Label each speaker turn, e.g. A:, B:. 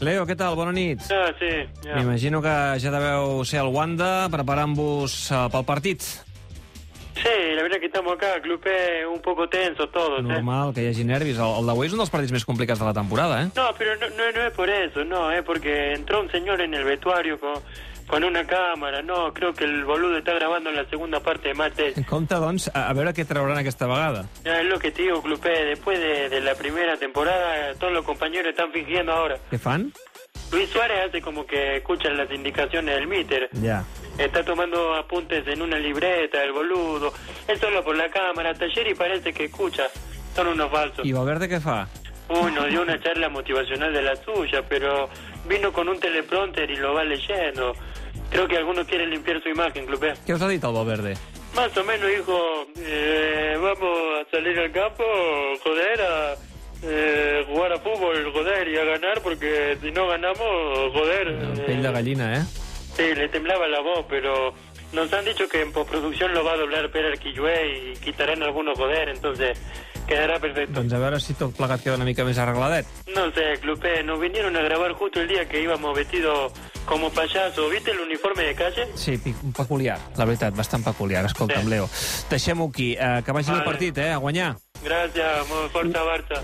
A: Leo, què tal? Bona nit.
B: Ja, Ah, sí, ja.
A: M'imagino que ja deveu ser al Wanda preparant-vos eh, pel partit.
B: Sí, la verdad que estamos acá, el club es un poco tenso todos, ¿eh?
A: Normal que hi hagi nervis. El, el d'avui és un dels partits més complicats de la temporada, eh?
B: No, pero no, no, no es por eso, no, es porque entró un señor en el vestuario con, con una cámara, no, creo que el boludo está grabando en la segunda parte de Mate.
A: En compte, doncs, a, a veure què trauran aquesta vegada.
B: Ya, es lo que te digo, Clupe, después de, de la primera temporada, todos los compañeros están fingiendo ahora.
A: Què fan?
B: Luis Suárez hace como que escuchan las indicaciones del míter.
A: Ja.
B: Está tomando apuntes en una libreta, el boludo. Él solo por la cámara, Talleri parece que escucha. Son unos falsos.
A: I Valverde què fa?
B: Uno dio una charla motivacional de la suya, pero vino con un teleprompter y lo va leyendo. Creo que algunos quieren limpiar su imagen, Clupe.
A: Què us ha dit el Valverde?
B: Más o menos dijo, eh, vamos a salir al campo, joder, a eh, jugar a fútbol, joder, y a ganar, porque si no ganamos, joder.
A: El
B: eh,
A: pell de gallina, eh?
B: Sí, le temblaba la voz, pero nos han dicho que en postproducción lo va a doblar Pérez Quillué y quitarán algunos joder, entonces quedará perfecto.
A: Doncs a veure si tot plegat queda una mica més arregladet.
B: No sé, Clupe, nos vinieron a grabar justo el día que íbamos vestidos como payaso. ¿Viste el uniforme de calle?
A: Sí, pic- peculiar, la veritat, bastant peculiar. Escolta'm,
B: Sí.
A: Leo, deixem-ho aquí. Eh, que vagi el
B: Vale.
A: partit, eh? A guanyar.
B: Gracias, mo- fuerza Barça.